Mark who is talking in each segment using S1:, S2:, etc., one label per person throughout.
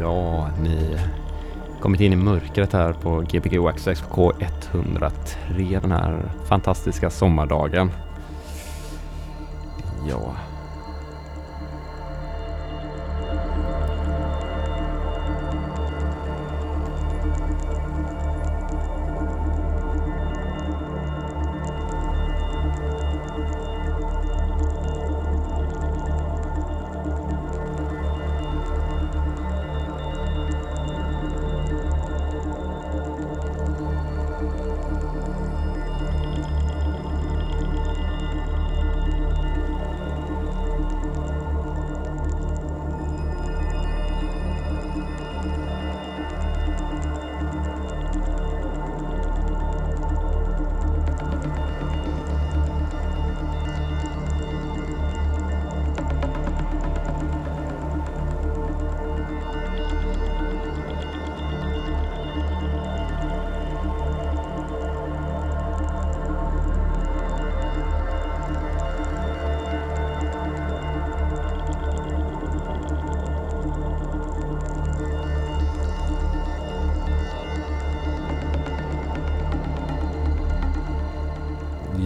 S1: Ja, ni kommit in i mörkret här på GBG Waxx K 103 den här fantastiska sommardagen. Ja.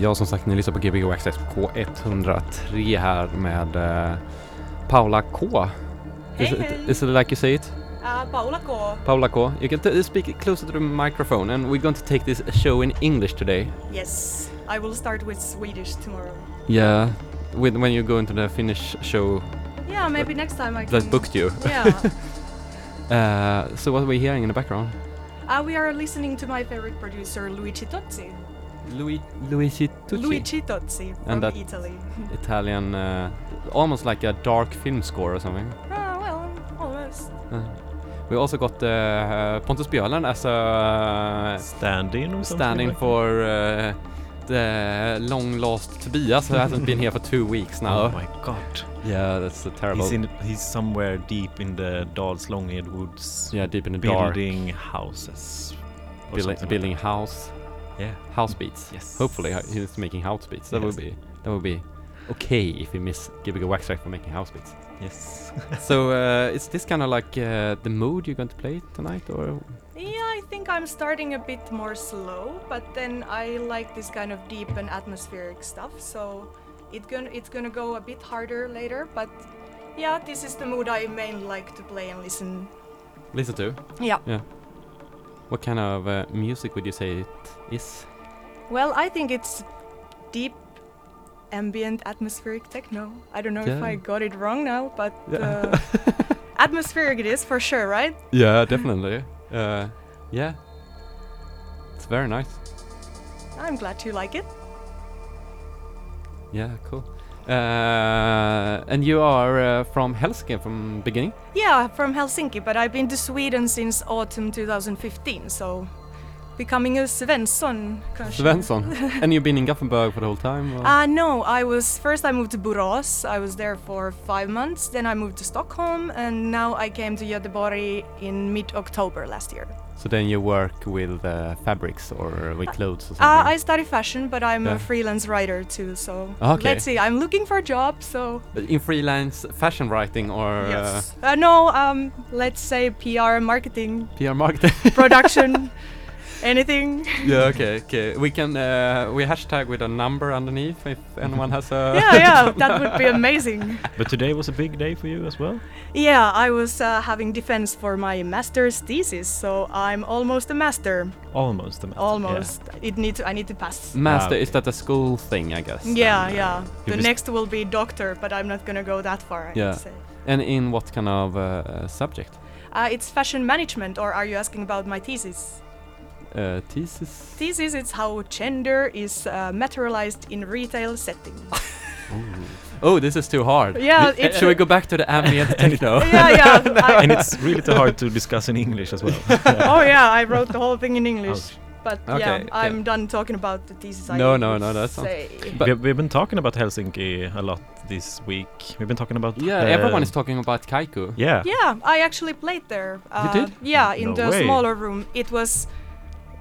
S1: Ja, som sagt, ni lyssnar på Gbg Access på K103 här med eh, Paula K.
S2: Hey,
S1: is,
S2: hey.
S1: It, is it like you say it?
S2: Uh, Paula K.
S1: Paula K. You can t- speak closer to the microphone and we're going to take this show in English today.
S2: Yes, I will start with Swedish tomorrow.
S1: Yeah, with, when you go into the Finnish show
S2: Yeah, maybe next time I can.
S1: that booked you.
S2: yeah,
S1: Uh, so what are we hearing in the background?
S2: uh, we are listening to my favorite producer Luigi Tozzi.
S1: Louis, Luigi Tucci.
S2: Luigi Tozzi from
S1: that-
S2: Italy.
S1: Italian, uh, almost like a dark film score or something.
S2: Ah, well, almost.
S1: Uh, we also got uh, Pontus Björlen as a uh,
S3: Stand-in or something
S1: standing
S3: like
S1: for uh, the long lost Tobias who hasn't been here for two weeks
S3: that?
S1: now.
S3: Oh my god.
S1: yeah, that's a terrible.
S3: He's in he's somewhere deep in the Dals Longhed woods
S1: yeah, deep in the dark,
S3: building houses. or
S1: building,
S3: something like
S1: building house,
S3: that. Yeah.
S1: house beats.
S3: Yes.
S1: Hopefully ho- he's making house beats. That would be that would be okay if we miss giving a wax track for making house beats.
S3: Yes.
S1: so uh, is this kind of like uh, the mood you're going to play tonight, or
S2: Yeah, I think I'm starting a bit more slow, but then I like this kind of deep and atmospheric stuff, so it gonna, it's gonna go a bit harder later, but yeah, this is the mood I mainly like to play and listen.
S1: listen to?
S2: Yeah.
S1: What kind of uh, music would you say it is?
S2: Well, I think it's deep ambient atmospheric techno. I don't know if
S1: Yeah.
S2: I got it wrong now, but
S1: Yeah.
S2: uh, atmospheric it is for sure, right?
S1: Yeah, definitely. uh, yeah, it's very nice.
S2: I'm glad you like it.
S1: Yeah, cool. Uh, and you are uh, from Helsinki from beginning?
S2: Yeah, from Helsinki, but I've been to Sweden since autumn 2015, so becoming a Svensson. kanske.
S1: Svensson. and you've been in Gothenburg for the whole time? or-
S2: Oh, Uh, no, I was first I moved to Borås. I was there for five months. Then I moved to Stockholm, and now I came to Göteborg in mid-October last year.
S1: so then you work with uh, fabrics or with clothes or something?
S2: Uh, I study fashion, but I'm
S1: Yeah.
S2: a freelance writer too. So
S1: Okay.
S2: let's see. I'm looking for a job. So
S1: in freelance fashion writing or
S2: yes. Uh, no. Um. Let's say PR, marketing,
S1: uh, PR marketing?
S2: production, anything.
S1: yeah, okay, okay. We can uh, we hashtag with a number underneath if anyone has a.
S2: yeah, yeah. That would be amazing.
S3: But today was a big day for you as well.
S2: Yeah, I was uh, having defense for my master's thesis, so I'm almost a master.
S3: Almost. the master, yeah.
S2: Almost. It need to, I need to pass.
S1: Master,
S3: Ah, okay.
S1: is that a school thing? I guess.
S2: Yeah,
S1: then, uh,
S2: yeah.
S3: you
S2: The
S3: just-
S2: next will be doctor, but I'm not gonna go that far. I
S1: Yeah.
S2: would say.
S1: uh, And in what kind of uh, subject?
S2: Uh, it's fashion management, or are you asking about my thesis?
S1: Uh, thesis.
S2: Thesis is how gender is uh, materialized in retail setting.
S1: Oh, this is too hard.
S2: Yeah,
S1: Th-
S2: it's
S1: Should we
S2: a-
S1: go back to the ambient techno?
S2: yeah, yeah. I-
S3: And it's really too hard to discuss in English as well.
S2: oh yeah, I wrote the whole thing in English.
S3: Ouch.
S2: But
S1: Oh, Okay,
S2: yeah,
S1: okay.
S2: I'm done talking about the thesis.
S1: No,
S2: I
S1: no,
S2: would
S1: no, that sounds-
S2: say.
S1: But-
S3: we, we've been talking about Helsinki a lot this week. We've been talking about
S1: yeah,
S3: uh,
S1: everyone is talking about Kaiku.
S3: Yeah.
S2: Yeah, I actually played there. Uh,
S1: did?
S2: Yeah, in
S3: No
S2: the
S3: way.
S2: smaller room. It was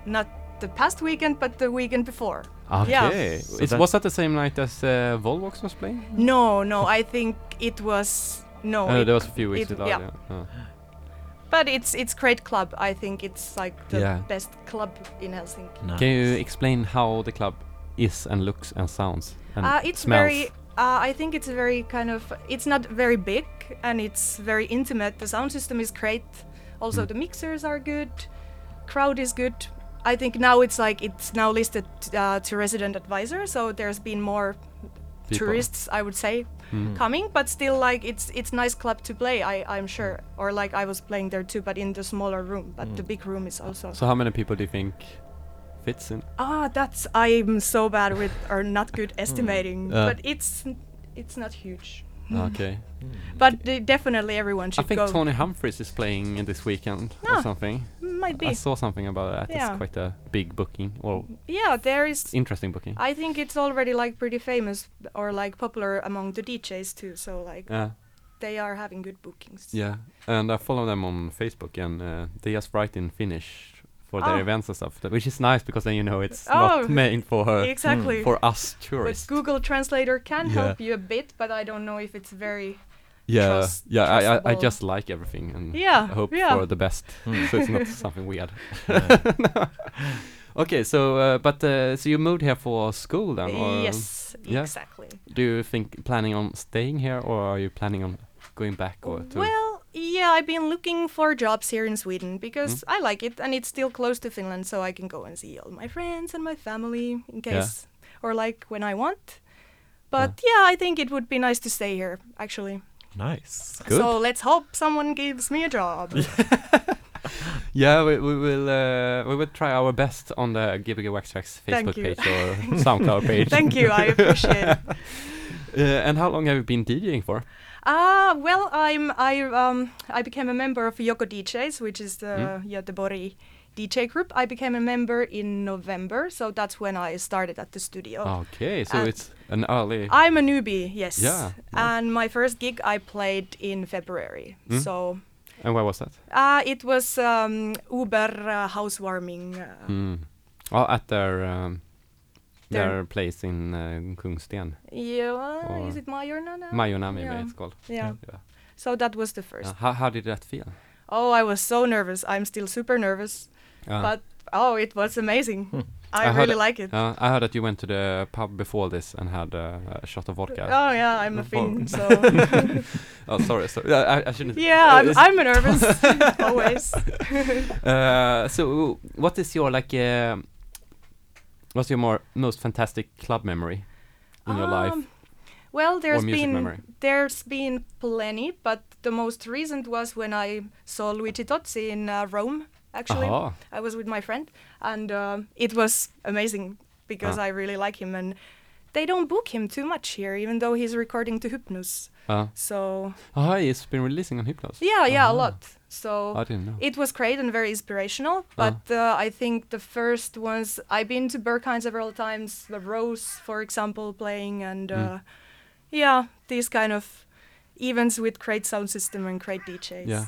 S2: not the past weekend, but the weekend before. Yeah.
S1: Okay.
S3: So
S1: It's
S3: that-
S1: was that the same night as uh, Volvox was playing?
S2: No, no, I think it was no.
S1: uh,
S2: it-
S1: that was a few weeks
S2: Oh, it-
S1: without.
S2: yeah.
S1: yeah. Uh,
S2: But it's it's great club. I think it's like the
S1: Yeah.
S2: best club in Helsinki.
S3: Nice.
S1: Can you explain how the club is and looks and sounds and
S2: Uh, it's
S1: smells?
S2: very. Uh, I think it's very kind of. It's not very big and it's very intimate. The sound system is great. Also,
S1: Mm.
S2: the mixers are good. Crowd is good. I think now it's like it's now listed uh, to resident advisor, so there's been more
S1: People.
S2: tourists, I would say,
S1: Mm.
S2: coming. But still, like it's it's nice club to play. I I'm sure. Or like I was playing there too, but in the smaller room. But the
S3: Mm.
S2: big room is also.
S1: So how many people do you think fits in?
S2: Ah, that's I'm so bad with or not good estimating,
S1: Uh.
S2: but it's it's not huge. Hmm.
S1: Okay.
S2: But uh, definitely everyone
S1: I
S2: should
S1: think
S2: go.
S1: Tony Humphries is playing this weekend
S2: Ah,
S1: or something.
S2: Might be.
S1: I saw something about that.
S2: Yeah.
S1: It's quite a big booking or
S2: Yeah, there is.
S1: interesting booking.
S2: I think it's already like pretty famous or like popular among the DJs too. So like
S1: Yeah,
S2: they are having good bookings.
S1: yeah. And I follow them on Facebook, and uh, they just write in Finnish for their
S2: Oh.
S1: events and stuff, th- which is nice because then you know it's
S2: Oh,
S1: not made for her,
S2: exactly.
S1: for us
S2: But
S1: tourists.
S2: Google Translator can
S1: Yeah.
S2: help you a bit, but I don't know if it's very.
S1: yeah,
S2: trust-
S1: yeah. I, I, I
S2: trustable.
S1: just like everything and
S2: Yeah,
S1: I hope
S2: yeah.
S1: for the best,
S3: Mm.
S1: so it's not something weird.
S3: Yeah.
S1: Okay, so uh, but uh, so you moved here for school then, or
S2: yes,
S1: yeah.
S2: exactly.
S1: do you think planning on staying here, or are you planning on going back or to?
S2: Well, yeah, I've been looking for jobs here in Sweden because
S1: Hmm?
S2: I like it and it's still close to Finland, so I can go and see all my friends and my family in
S1: Yeah.
S2: case or like when I want. But yeah. I think it would be nice to stay here actually.
S3: Nice.
S1: Good.
S2: So let's hope someone gives me a job.
S1: Yeah, we, we will uh, we will try our best on the Gbg Wax Tracks
S2: Thank
S1: Facebook
S2: you.
S1: page or SoundCloud page.
S2: Thank you, I appreciate it.
S1: Uh, and how long have you been DJing for?
S2: Ah, well, I'm I um I became a member of Yoko DJs, which is the
S1: Hmm?
S2: Göteborg DJ group. I became a member in November, so that's when I started at the studio.
S1: Okay, so
S2: Uh,
S1: it's an early.
S2: I'm a newbie, yes.
S1: Yeah, nice.
S2: And my first gig I played in February.
S1: Mm.
S2: So
S1: and where was that?
S2: uh, it was um, Uber uh, housewarming. Uh,
S1: Mm. Oh, at their um,
S2: Their-
S1: their place in uh, Kungsten,
S2: Yeah, uh, is
S1: Or-
S2: it Majorna now?
S1: Majorna Oh, maybe
S2: Yeah.
S1: it's called.
S2: Yeah.
S1: yeah.
S2: So that was the first.
S1: Uh, how how did that feel?
S2: Oh, I was so nervous. I'm still super nervous.
S1: Uh,
S2: But oh, it was amazing. I,
S1: I heard
S2: really
S1: it-
S2: like it.
S1: uh, I heard that you went to the pub before this and had uh, a shot of vodka.
S2: Oh yeah, I'm a
S1: Oh.
S2: Finn, so
S1: oh, sorry, sorry. Uh, I, I shouldn't.
S2: yeah,
S1: uh,
S2: I'm,
S1: it's-
S2: I'm a nervous always.
S1: Uh, so what is your like um what's your more most fantastic club memory in your life
S2: Um, Well, there's
S1: music
S2: been
S1: memory?
S2: there's been plenty, but the most recent was when I saw Luigi Tozzi in uh, Rome. Actually,
S1: Aha.
S2: I was with my friend, and um it was amazing because
S1: Ah.
S2: I really like him, and they don't book him too much here, even though he's recording to Hypnos.
S1: uh,
S2: So
S1: oh it's been releasing on hypnos
S2: yeah, yeah,
S1: Aha.
S2: a lot. So
S1: Ah. i didn't know
S2: it was great and very inspirational, but uh, I think the first ones I've been to Berkheim several times, the Rose, for example, playing, and uh,
S1: Mm.
S2: yeah, these kind of events with great sound system and great DJs.
S1: yeah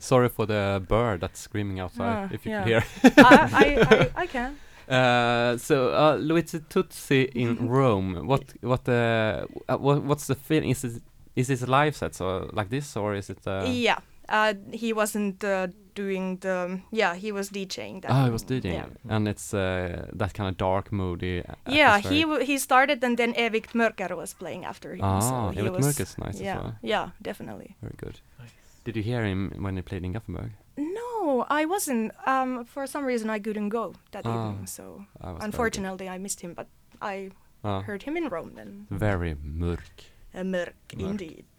S1: sorry for the bird that's screaming outside
S2: Ah,
S1: if you
S2: yeah.
S1: can hear
S2: I, I, I, I can.
S1: uh, so uh, luigi tutsi in rome what what uh, uh, what, what's the feeling is it is this a live set so like this or is it uh,
S2: yeah, uh, he wasn't uh, doing the. Yeah, Ah, he was DJing that.
S1: oh i was
S2: one,
S1: DJing
S2: Yeah.
S1: and it's uh, that kind of dark moody a-
S2: Yeah, he
S1: atmospheric-
S2: w- he started and then Evict Mörker was playing after him.
S1: ah
S2: so
S1: yeah,
S2: he
S1: but
S2: was,
S1: Merck is nice
S2: yeah,
S1: as well
S2: yeah, definitely.
S1: Very good.
S3: Nice.
S1: Did you hear him when he played in Gothenburg?
S2: No, I wasn't. Um, for some reason, I couldn't go that
S1: Oh,
S2: evening, so
S1: I was very good.
S2: unfortunately, I missed him. But I
S1: Ah,
S2: heard him in Rome then.
S1: very mörk.
S2: A mörk,
S1: Mörk.
S2: indeed.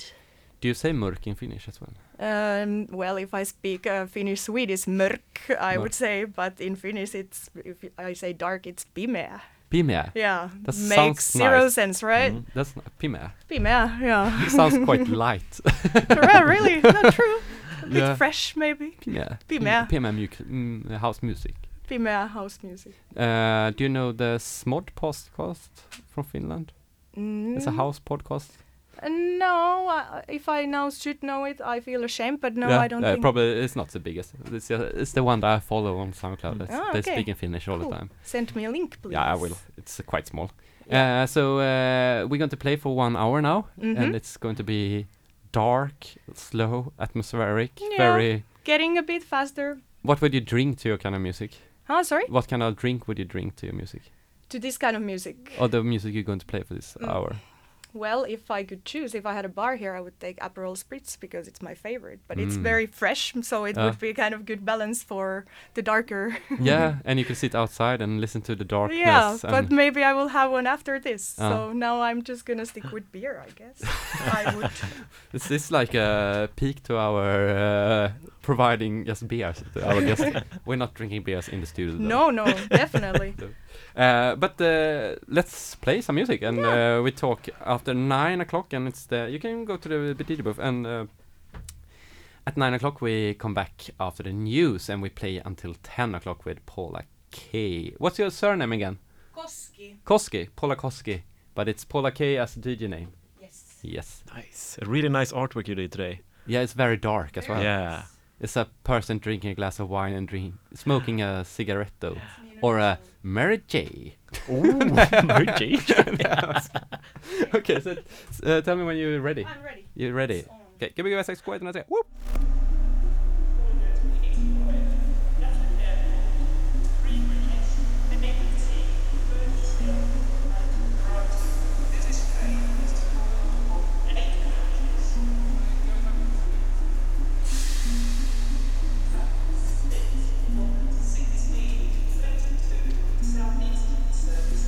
S1: Do you say mörk in Finnish as well?
S2: Um, well, if I speak uh, Finnish Swedish, mörk, I
S1: Mörk.
S2: would say, but in Finnish, it's if I say dark, it's pimeä.
S1: Pimeä.
S2: Yeah,
S1: That
S2: makes
S1: sounds
S2: zero
S1: nice.
S2: sense,
S3: Mm-hmm.
S2: right?
S1: Mm, that's not pimeä.
S2: Pimeä, yeah.
S1: It sounds quite light.
S2: Well, really, not true. A bit
S1: Yeah.
S2: fresh, maybe.
S1: Pimeä.
S2: Pimeä.
S1: Pimeä mu- mm, house music.
S2: Pimeä house music.
S1: Uh, do you know the Smod podcast from Finland? It's a
S2: Mm.
S1: house podcast.
S2: Uh, No, I, if I now should know it, I feel ashamed. But no,
S1: Yeah,
S2: I don't
S1: uh,
S2: think.
S1: Probably it's not the biggest. It's, uh, it's the one that I follow on SoundCloud.
S3: Mm.
S1: It's,
S2: Ah,
S1: They
S2: okay.
S1: speak in Finnish all
S2: Cool.
S1: the time.
S2: Send me a link, please.
S1: Yeah, I will. It's uh, quite small. Uh, so uh, we're going to play for one hour now,
S2: Mhm.
S1: and it's going to be dark, slow, atmospheric,
S2: Yeah.
S1: very
S2: getting a bit faster.
S1: What would you drink to your kind of music?
S2: Huh, sorry?
S1: What kind of drink would you drink to your music?
S2: To this kind of music.
S1: Or the music you're going to play for this
S2: Mm.
S1: hour?
S2: Well, if I could choose, if I had a bar here, I would take Aperol Spritz because it's my favorite. But it's
S1: Mm.
S2: very fresh, m- so it
S1: Ah.
S2: would be kind of good balance for the darker.
S1: yeah, and you could sit outside and listen to the darkness.
S2: Mm-hmm. yeah,
S1: and
S2: but maybe I will have one after this.
S1: Ah.
S2: So now I'm just gonna stick with beer, I guess. I would.
S1: is this like a peak to our uh, providing just beers? To our guest? We're not drinking beers in the studio. though.
S2: No, no, definitely.
S1: Uh, but uh, let's play some music, and
S2: Yeah.
S1: uh, we talk after nine o'clock. And it's the you can go to the DJ booth, and uh, at nine o'clock we come back after the news, and we play until ten o'clock with Paula K. What's your surname again?
S2: Koski,
S1: Koski, Paula Koski, but it's Paula K as the DJ name.
S2: yes.
S1: Yes.
S3: Nice. Really nice artwork you did today.
S1: Yeah, it's very dark as well.
S3: Yeah.
S1: It's a person drinking a glass of wine and drink, smoking a cigaretto or a Mary J.
S3: Ooh, Mary Jane.
S1: okay, so uh, tell me when you're ready.
S2: I'm ready.
S1: You ready?
S2: It's on.
S1: Okay, give me guys a squad and I say whoop.
S4: Thank you.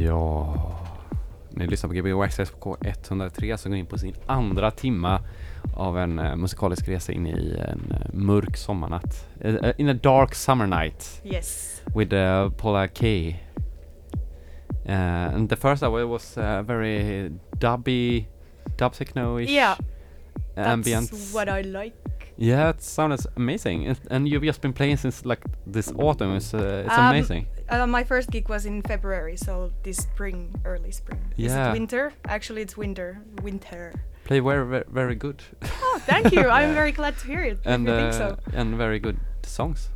S1: Ja. Ni lyssnar på Gbg Access på K103 som går in på sin andra timma av en eh, musikalisk resa in i en eh, mörk sommarnatt. Eh, eh, in a dark summer night
S2: Yes.
S1: with uh, Paula K. Uh, and the first hour was uh, very dubby, dub techno-ish
S2: Yeah, That's
S1: ambience.
S2: what I like.
S1: Yeah, it sounds amazing. It, and you've just been playing since like this autumn. It's, uh, it's
S2: Um,
S1: amazing.
S2: Uh, my first gig was in February, so this spring, early spring. Is
S1: Yeah.
S2: it winter? Actually, it's winter. Winter.
S1: Play very, very, very good.
S2: Oh, thank you. I'm very glad to hear it.
S1: and
S2: if you think
S1: uh,
S2: so.
S1: and very good songs.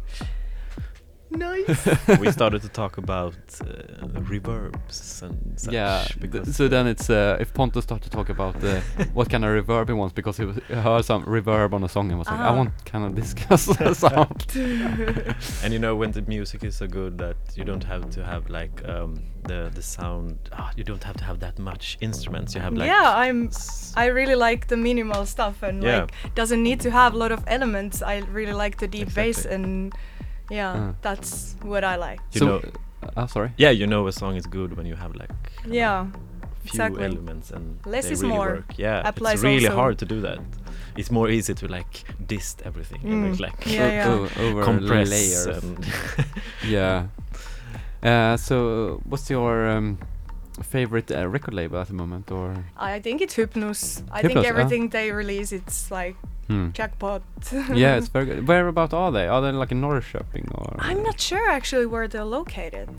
S2: Nice.
S3: we started to talk about uh, reverbs and such.
S1: yeah. th-
S3: because,
S1: so
S3: uh,
S1: then it's uh, if Pontus started to talk about uh, what kind of reverb he wants because he, was, he heard some reverb on a song and was like, I
S2: Ah.
S1: want kind of this kind of sound.
S3: And you know when the music is so good that you don't have to have like um, the the sound. ah, you don't have to have that much instruments. You have like
S2: yeah, I'm.
S3: s-
S2: I really like the minimal stuff and
S3: Yeah.
S2: like doesn't need to have a lot of elements. I really like the deep bass
S3: Exactly.
S2: and yeah,
S1: Mm.
S2: that's what I like.
S3: You
S1: so,
S3: know-
S1: uh, sorry.
S3: yeah, you know a song is good when you have like
S2: Yeah,
S3: few
S2: exactly.
S3: elements and
S2: Less
S3: they
S2: is
S3: really
S2: more.
S3: work. Yeah, it's
S2: Applies
S3: really
S2: also.
S3: hard to do that. It's more easy to like dist everything and
S2: Mm.
S3: like
S2: Yeah, yeah.
S1: O- o- over
S3: compress
S1: layers.
S3: and
S1: Yeah. Uh, so, what's your um, favorite uh, record label at the moment, or?
S2: I think it's Hypnos. I
S1: Hypnos,
S2: think
S1: ah.
S2: everything they release, it's like
S1: Hmm.
S2: jackpot.
S1: yeah, it's very good. Whereabout are they? Are they like in Norrköping or?
S2: I'm not sure actually where they're located.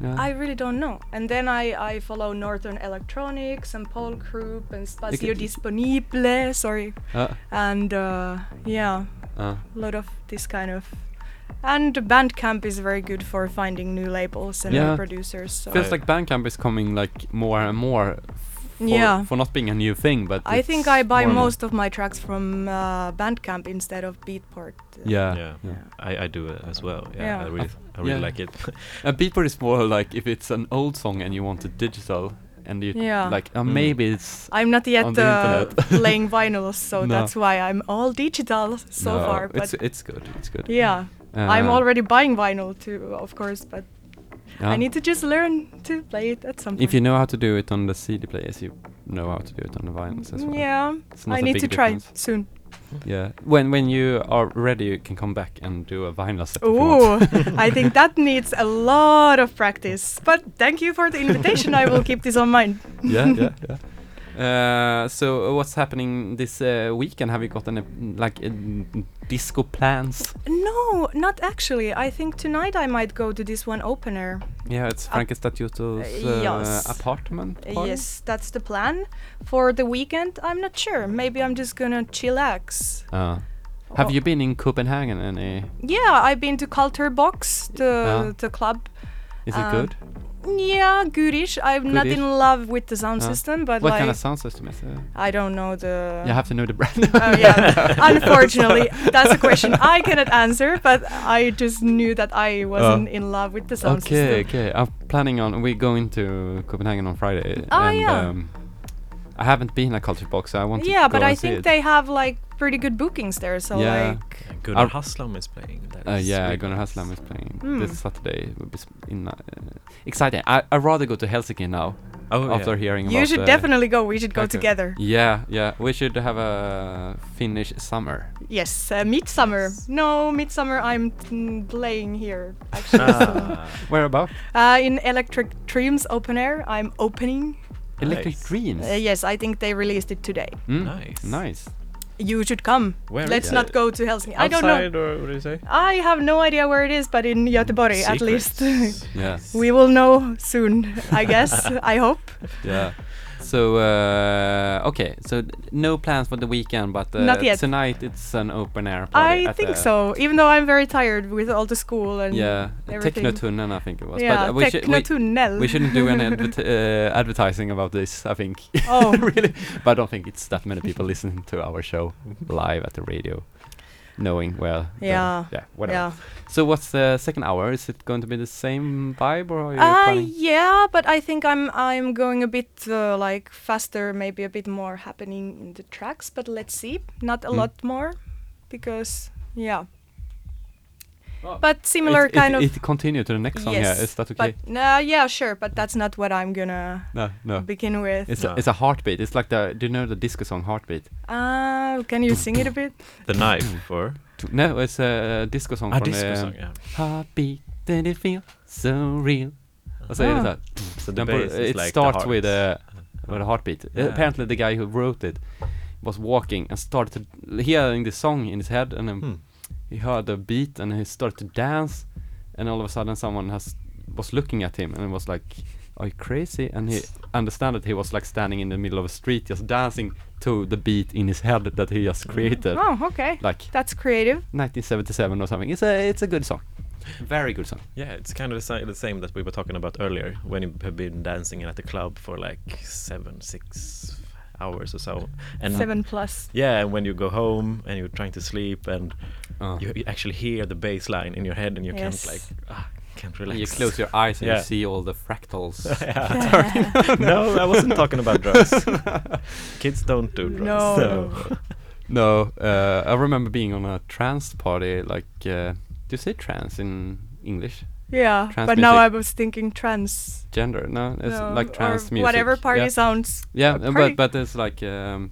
S1: Yeah.
S2: I really don't know. And then I, I follow Northern Electronics and Paul Group and Spazio
S1: can-
S2: Disponible. Sorry.
S1: Uh,
S2: And uh, yeah,
S1: uh,
S2: a lot of this kind of. And Bandcamp is very good for finding new labels and
S1: Yeah.
S2: new producers. So
S1: feels like Bandcamp is coming like more and more. For,
S2: Yeah.
S1: For not being a new thing, but.
S2: I think
S1: it's
S2: I buy
S1: more and more-
S2: most of my tracks from uh, Bandcamp instead of Beatport.
S1: Yeah.
S3: yeah. I, I do it as well. Yeah,
S2: Yeah.
S3: I really I really
S1: Yeah.
S3: like it.
S1: A beatport is more like if it's an old song and you want it digital, and you
S2: Yeah.
S1: like uh,
S3: Mm.
S1: maybe it's.
S2: I'm not
S1: On
S2: yet
S1: the
S2: uh,
S1: internet.
S2: playing vinyls, so
S1: No.
S2: that's why I'm all digital so
S1: No,
S2: far. But
S1: it's it's good. It's good.
S2: yeah, I'm
S1: Uh,
S2: already buying vinyl too, of course. But I
S1: yeah.
S2: need to just learn to play it at some point.
S1: If you know how to do it on the CD players, you know how to do it on the vinyls as well.
S2: Yeah,
S1: It's not
S2: I
S1: a
S2: need
S1: big
S2: to try it
S1: difference.
S2: soon.
S1: Yeah. When when you are ready, you can come back and do a vinyl set. if you
S2: Ooh,
S1: want.
S2: I think that needs a lot of practice. But thank you for the invitation. I will keep this on mind.
S1: yeah, yeah, yeah. Uh, so uh, what's happening this uh, weekend? Have you got any mm, like uh, mm, disco plans?
S2: No, not actually. I think tonight I might go to this one opener.
S1: Yeah, it's
S2: Ap-
S1: Frankie Statuto's
S2: uh,
S1: uh,
S2: yes.
S1: apartment.
S2: Uh,
S1: party?
S2: Yes, that's the plan. For the weekend, I'm not sure. Maybe I'm just gonna chillax.
S1: Uh, have
S2: Oh.
S1: you been in Copenhagen? uh, Any?
S2: Yeah, I've been to Culture Box, the
S1: Yeah.
S2: the club.
S1: Is it
S2: Um,
S1: good?
S2: Yeah, goodish. I'm not
S1: Goodish.
S2: in love with the sound
S1: Yeah.
S2: system, but
S1: What
S2: like
S1: kind of sound system is it?
S2: I don't know the.
S1: you have to know the brand.
S2: Oh yeah. Unfortunately, that's a question I cannot answer. But I just knew that I wasn't in love with the sound
S1: Oh. okay,
S2: system.
S1: okay. I'm planning on we're going to Copenhagen on Friday.
S2: Ah, yeah.
S1: Um, I haven't been at Culture Box, so I want to
S2: Yeah, but
S1: go
S2: I
S1: and see
S2: think
S1: it.
S2: they have like pretty good bookings there. So
S1: Yeah.
S2: like,
S3: Gunnar
S1: Ar-
S3: Haslam is playing. That
S1: Uh,
S3: is
S1: yeah,
S3: really
S1: Gunnar
S3: nice.
S1: Haslam is playing
S2: Mm.
S1: this Saturday. It would be sp- in, uh, exciting. I I rather go to Helsinki now
S3: Oh, yeah.
S1: after hearing about.
S2: you should
S1: uh,
S2: definitely go. We should go
S1: Krakow.
S2: together.
S1: Yeah, yeah. We should have a Finnish summer.
S2: Yes, uh, midsummer. No, midsummer. I'm mm, playing here actually. so.
S3: Ah,
S1: Where about?
S2: uh, in Electric Dreams open air, I'm opening.
S1: Electric
S3: Nice.
S1: Dreams.
S2: Uh, yes, I think they released it today.
S1: Mm,
S3: Nice.
S1: Nice.
S2: You should come.
S3: Where
S2: Let's
S3: is
S2: not
S3: it?
S2: go to Helsinki. I don't know.
S3: Outside or what do you say?
S2: I have no idea where it is, but in
S1: Mm,
S2: Göteborg at least.
S3: Secrets.
S1: Yeah.
S2: we will know soon, I guess. I hope.
S1: Yeah. So uh, okay, so d- no plans for the weekend, but uh,
S2: Not yet.
S1: tonight it's an open air party.
S2: I
S1: at
S2: think
S1: the-
S2: so, even though I'm very tired with all the school and
S1: Yeah,
S2: everything.
S1: Technotunneln, I think it was.
S2: yeah,
S1: but uh, we, should- we,
S2: Technotunnel.
S1: we shouldn't do any adver- uh, advertising about this. I think.
S2: Oh.
S1: really, but I don't think it's that many people listening to our show live at the radio, knowing well. the-
S2: Yeah.
S1: yeah. Whatever.
S2: yeah.
S1: So what's the second hour? Is it going to be the same vibe, or are you
S2: Uh,
S1: planning?
S2: yeah, but I think I'm I'm going a bit uh, like faster, maybe a bit more happening in the tracks,
S1: Hmm.
S2: but let's see. Not a
S1: Mm.
S2: lot more because yeah. But similar
S1: Oh, it,
S2: kind
S1: it,
S2: of.
S1: It continue to the next song. Yeah, is that okay?
S2: But nah, yeah, sure, but that's not what I'm gonna
S1: No, no.
S2: begin with.
S1: Oh. It's
S3: No.
S1: a, it's a heartbeat. It's like the do you know the disco song heartbeat?
S2: Uh, can you sing it a bit?
S3: The knife or
S1: No, it's a disco song
S3: a
S1: from
S3: disco
S1: the
S3: song. Yeah.
S1: heartbeat. Did it feel so real? Och så är det
S2: Ah.
S1: så här.
S3: So the
S1: Den bör-
S3: bass is
S1: it
S3: like
S1: starts
S3: the
S1: with
S3: heart.
S1: a with a heartbeat. Uh,
S3: Yeah.
S1: Apparently, the guy who wrote it was walking and started hearing the song in his head, and then
S3: Hmm.
S1: he heard the beat, and he started to dance, and all of a sudden, someone has was looking at him and was like, "Are you crazy?" And he understand that he was like standing in the middle of a street, just dancing to the beat in his head that he just created,
S2: Oh, okay.
S1: like
S2: That's creative.
S1: 1977 or something. It's a it's a good song, very good song.
S3: Yeah, it's kind of the, si- the same that we were talking about earlier when you have been dancing at the club for like seven, six hours or so,
S1: uh,
S3: and
S2: Seven plus.
S3: yeah, and when you go home and you're trying to sleep and
S1: Uh.
S3: you, you actually hear the bass line in your head and you
S2: Yes.
S3: can't like ah, can't relax.
S1: You close your eyes and
S3: Yeah.
S1: you see all the fractals.
S3: Yeah. no, I wasn't talking about drugs. Kids don't do drugs.
S2: No.
S3: so-
S1: No, uh, I remember being on a trance party. Like, uh, do you say trance in English?
S2: Yeah,
S1: Trans
S2: but now I
S1: music.
S2: was thinking trans.
S1: Gender? No, it's
S2: no,
S1: like trance
S2: or
S1: music.
S2: Whatever party
S1: yeah.
S2: sounds.
S1: Yeah,
S2: a
S1: uh,
S2: party.
S1: but but it's like, um,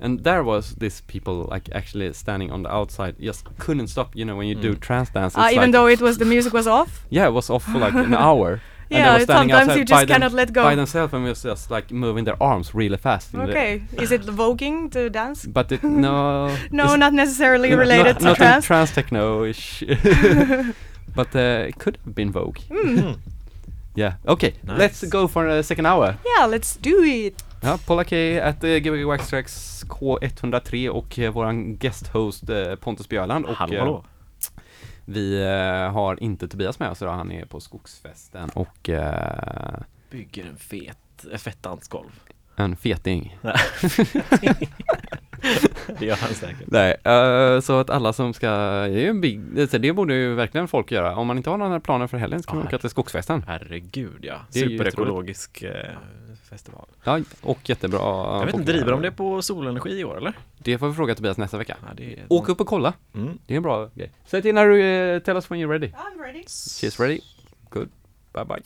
S1: and there was this people like actually standing on the outside, just couldn't stop. You know, when you do
S3: Mm.
S1: trance dance,
S2: Uh,
S1: it's
S2: even
S1: like-
S2: though it was the music was off.
S1: yeah, it was off for like an hour. and they
S2: Yeah,
S1: were standing
S2: sometimes
S1: outside
S2: you
S1: by
S2: just cannot let go.
S1: by themselves and was just like moving their arms really fast. in the-
S2: Okay, is it voguing the dance?
S1: but it no.
S2: No,
S1: it's-
S2: not necessarily
S1: No,
S2: related
S1: not, not
S2: to trans.
S1: in trans techno-ish. but uh, it could have been Vogue.
S3: Mm.
S1: Yeah. Okay. Let's
S3: Nice.
S1: go for a second hour.
S2: yeah, let's do it.
S1: Ja, Paula K at uh, Gbg Wax Tracks K103 och eh, våran guest host eh, Pontus Björland och
S3: Hallå,
S1: eh,
S3: hallå.
S1: vi eh, har inte Tobias med oss idag, han är på skogsfesten och eh,
S3: Bygger en fet, eh, ett fett dansgolv.
S1: en feting.
S3: Det gör han säkert.
S1: Nej, eh, så att alla som ska, det, är ju en big, så det borde ju verkligen folk göra. Om man inte har några planer för helgen så kan man
S3: Ja,
S1: åka till skogsfesten.
S3: Herregud ja.
S1: Det är ju jätteroligt.
S3: Superekologisk eh, festival.
S1: Ja, och jättebra.
S3: Jag vet inte, driver de det på Mm. solenergi i år eller?
S1: Det får vi fråga Tobias nästa vecka.
S3: Ja, det är
S1: Åk upp och kolla.
S3: Mm.
S1: Det är en bra grej. Säg till när du, eh, tell us when you're ready.
S2: I'm ready.
S1: She's ready. Good. Bye bye.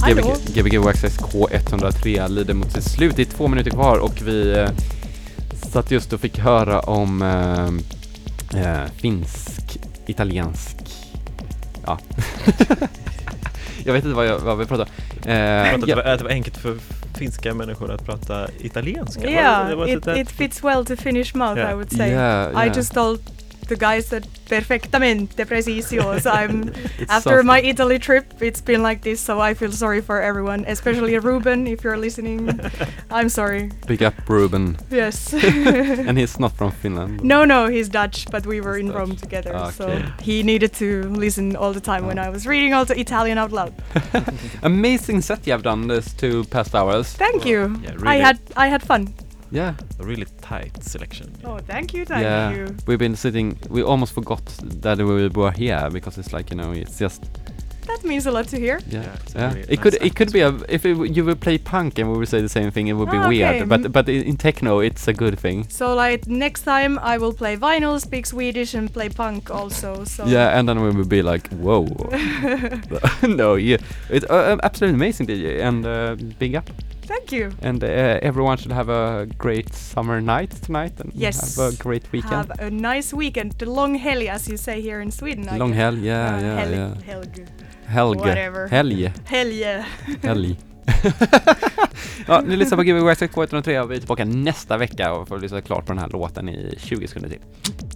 S1: Gbg, Gbg Waxxed K103 lider mot sitt slut. Det är två minuter kvar och vi eh, satt just och fick höra om eh, eh, finsk, italiensk, ja. jag vet inte vad, jag, vad vi pratar om. Eh,
S3: Att det,
S1: ja.
S3: var, att det var enkelt för finska människor att prata italienska? Var det-
S2: Yeah,
S3: var
S2: it,
S3: det-
S2: it fits well to Finnish mouth,
S3: Yeah.
S2: I would say.
S1: Yeah,
S2: I
S1: yeah.
S2: just told the guys that perfectamente precisio. So I'm
S1: It
S2: after
S1: sounds-
S2: my Italy trip, it's been like this. So I feel sorry for everyone, especially Ruben, if you're listening. I'm sorry.
S1: Big up Ruben.
S2: Yes.
S1: And he's not from Finland.
S2: no, no, he's Dutch, but we were
S1: He's
S2: in
S1: Dutch. Ah,
S2: Rome together, so
S1: Okay.
S2: he needed to listen all the time when
S1: Ah.
S2: I was reading all the Italian out loud.
S1: Amazing set you have done this two past hours.
S2: Thank
S3: Well,
S2: you.
S3: yeah,
S2: I
S3: really.
S2: had I had fun.
S1: Yeah.
S3: A really tight selection.
S2: Oh, thank you, thank
S1: yeah,
S2: you.
S1: we've been sitting. We almost forgot that we were here because it's like you know, it's just
S2: That means a lot to hear.
S1: yeah.
S3: Yeah, it's a
S1: yeah.
S3: really
S1: It could
S3: nice
S1: it could be a if it, w- you would play punk and we would say the same thing, it would be
S2: Ah, okay.
S1: weird.
S2: Mm.
S1: But but in, in techno, it's a good thing.
S2: So like next time I will play vinyl, speak Swedish, and play punk also. So
S1: Yeah, and then we would be like, whoa. no, yeah, it's uh, absolutely amazing DJ, and uh, big up,
S2: thank you.
S1: and uh, everyone should have a great summer night tonight and
S2: Yes.
S1: have a great weekend.
S2: Have a nice weekend. The long helg, as you say here in Sweden. I
S1: Long
S2: guess.
S1: helg, yeah,
S2: Uh,
S1: yeah,
S2: helg,
S1: yeah.
S2: Helg.
S1: Helge,
S2: Whatever.
S1: helge.
S2: Helg, yeah.
S1: Helg. ja, ni lyssnar på Gbg Waxxed K103 och vi är tillbaka nästa vecka och får lyssna klart på den här låten i 20 sekunder till.